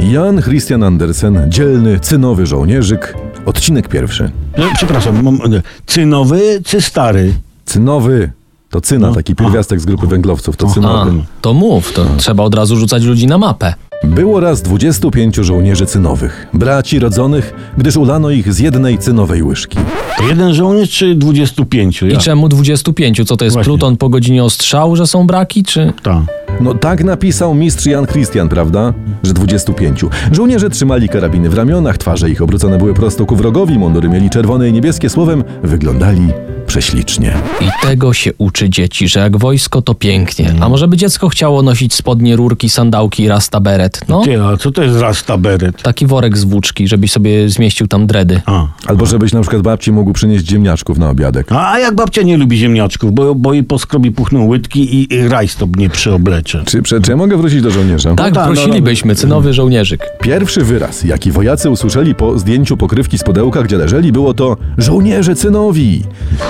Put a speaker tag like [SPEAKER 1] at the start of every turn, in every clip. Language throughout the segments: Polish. [SPEAKER 1] Jan Christian Andersen, dzielny, cynowy żołnierzyk. Odcinek pierwszy.
[SPEAKER 2] No, przepraszam, mam, cynowy czy stary?
[SPEAKER 1] Cynowy to cyna, taki pierwiastek z grupy węglowców, to
[SPEAKER 3] A,
[SPEAKER 1] cynowy.
[SPEAKER 3] to mów, to trzeba od razu rzucać ludzi na mapę.
[SPEAKER 1] Było raz 25 żołnierzy cynowych, braci rodzonych, gdyż ulano ich z jednej cynowej łyżki.
[SPEAKER 2] To jeden żołnierz czy 25? Ja.
[SPEAKER 3] I czemu 25? Co to jest
[SPEAKER 2] Właśnie.
[SPEAKER 3] pluton po godzinie ostrzału, że są braki, czy...
[SPEAKER 2] Ta.
[SPEAKER 1] No tak napisał mistrz Jan Christian, prawda? Że 25. Żołnierze trzymali karabiny w ramionach, twarze ich obrócone były prosto ku wrogowi, mundury mieli czerwone i niebieskie, słowem wyglądali prześlicznie.
[SPEAKER 3] I tego się uczy dzieci, że jak wojsko to pięknie. A może by dziecko chciało nosić spodnie, rurki, sandałki i rasta beret? No,
[SPEAKER 2] Ty, a co to jest rasta beret?
[SPEAKER 3] taki worek z włóczki, żebyś sobie zmieścił tam dredy.
[SPEAKER 2] A.
[SPEAKER 1] Albo żebyś na przykład babci mógł przynieść ziemniaczków na obiadek.
[SPEAKER 2] A, a jak babcia nie lubi ziemniaczków, bo, bo jej po skrobie puchną łydki i, i rajstop nie przyoblecze.
[SPEAKER 1] Czy, prze, czy ja mogę wrócić do żołnierza?
[SPEAKER 3] Tak,
[SPEAKER 2] no tak, no,
[SPEAKER 3] prosilibyśmy, cynowy żołnierzyk.
[SPEAKER 1] Pierwszy wyraz, jaki wojacy usłyszeli po zdjęciu pokrywki z pudełka, gdzie leżeli, było to żołnierze cynowi.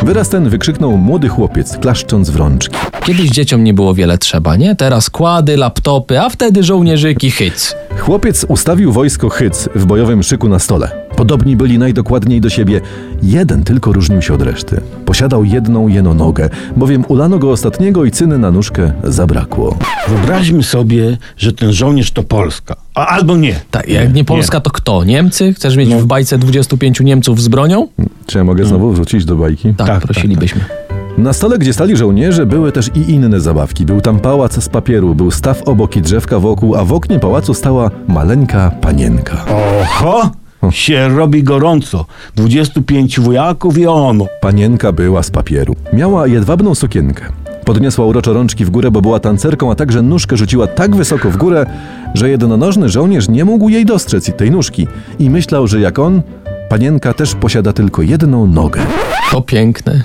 [SPEAKER 1] Wyraz ten wykrzyknął młody chłopiec, klaszcząc w rączki.
[SPEAKER 3] Kiedyś dzieciom nie było wiele trzeba, nie? Teraz kłady, laptopy, a wtedy żołnierzyki hyc.
[SPEAKER 1] Chłopiec ustawił wojsko Hyc w bojowym szyku na stole. Podobni byli najdokładniej do siebie. Jeden tylko różnił się od reszty. Posiadał jedną jeno nogę, bowiem ulano go ostatniego i cyny na nóżkę zabrakło.
[SPEAKER 2] Wyobraźmy sobie, że ten żołnierz to Polska. A, albo nie. No.
[SPEAKER 3] Tak, jak nie Polska, to kto? Niemcy? Chcesz mieć w bajce 25 Niemców z bronią?
[SPEAKER 1] Czy ja mogę znowu wrócić do bajki?
[SPEAKER 3] Tak,
[SPEAKER 2] Tak, tak,
[SPEAKER 3] prosilibyśmy.
[SPEAKER 1] Na stole, gdzie stali żołnierze, były też i inne zabawki. Był tam pałac z papieru, był staw obok i drzewka wokół, a w oknie pałacu stała maleńka panienka.
[SPEAKER 2] Oho! Się robi gorąco. 25 wujaków i ono.
[SPEAKER 1] Panienka była z papieru. Miała jedwabną sukienkę. Podniosła uroczo rączki w górę, bo była tancerką, a także nóżkę rzuciła tak wysoko w górę, że jednonożny żołnierz nie mógł jej dostrzec tej nóżki i myślał, że jak on, panienka też posiada tylko jedną nogę.
[SPEAKER 3] To piękne.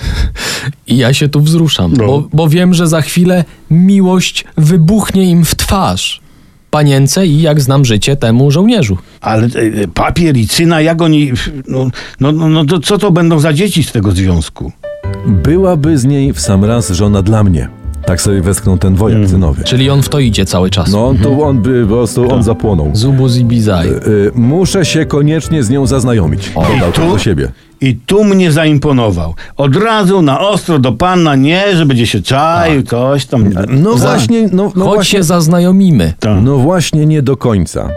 [SPEAKER 3] I ja się tu wzruszam,
[SPEAKER 1] No.
[SPEAKER 3] bo, bo wiem, że za chwilę miłość wybuchnie im w twarz. Panience i jak znam życie temu żołnierzu.
[SPEAKER 2] Ale e, papier i cyna, jak oni... No, no, no, no to co to będą za dzieci z tego związku?
[SPEAKER 1] Byłaby z niej w sam raz żona dla mnie. Tak sobie westchnął ten wojak cynowy.
[SPEAKER 3] Czyli on w to idzie cały czas.
[SPEAKER 1] No to on by po prostu on zapłonął.
[SPEAKER 3] Zubu zibizaj.
[SPEAKER 1] Y, muszę się koniecznie z nią zaznajomić. Dodał
[SPEAKER 2] I
[SPEAKER 1] to
[SPEAKER 2] tu?
[SPEAKER 1] do siebie.
[SPEAKER 2] I tu mnie zaimponował. Od razu na ostro do pana, nie, że będzie się czaił, coś tam.
[SPEAKER 1] Tak. No właśnie, no, no
[SPEAKER 3] Chodź
[SPEAKER 1] właśnie.
[SPEAKER 3] się zaznajomimy.
[SPEAKER 2] Tak.
[SPEAKER 1] No właśnie nie do końca.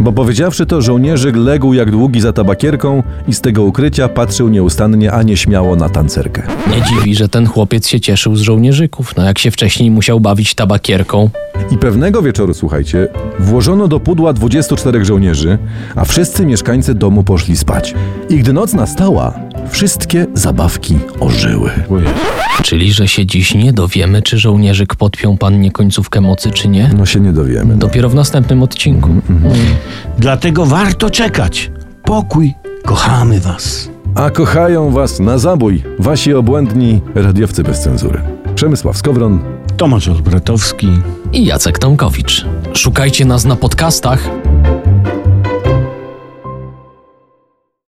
[SPEAKER 1] Bo powiedziawszy to, żołnierzyk legł jak długi za tabakierką i z tego ukrycia patrzył nieustannie, a nieśmiało na tancerkę.
[SPEAKER 3] Nie dziwi, że ten chłopiec się cieszył z żołnierzyków. No jak się wcześniej musiał bawić tabakierką.
[SPEAKER 1] I pewnego wieczoru, słuchajcie, włożono do pudła 24 żołnierzy, a wszyscy mieszkańcy domu poszli spać. I gdy noc nastała, wszystkie zabawki ożyły.
[SPEAKER 3] Czyli, że się dziś nie dowiemy, czy żołnierzyk podpiął pannie końcówkę mocy, czy nie.
[SPEAKER 1] No się nie dowiemy. No.
[SPEAKER 3] Dopiero w następnym odcinku.
[SPEAKER 1] Mm,
[SPEAKER 2] Dlatego warto czekać. Pokój, kochamy was.
[SPEAKER 1] A kochają was na zabój wasi obłędni radiowcy bez cenzury. Przemysław Skowron,
[SPEAKER 2] Tomasz Olbratowski.
[SPEAKER 3] I Jacek Tomkowicz. Szukajcie nas na podcastach.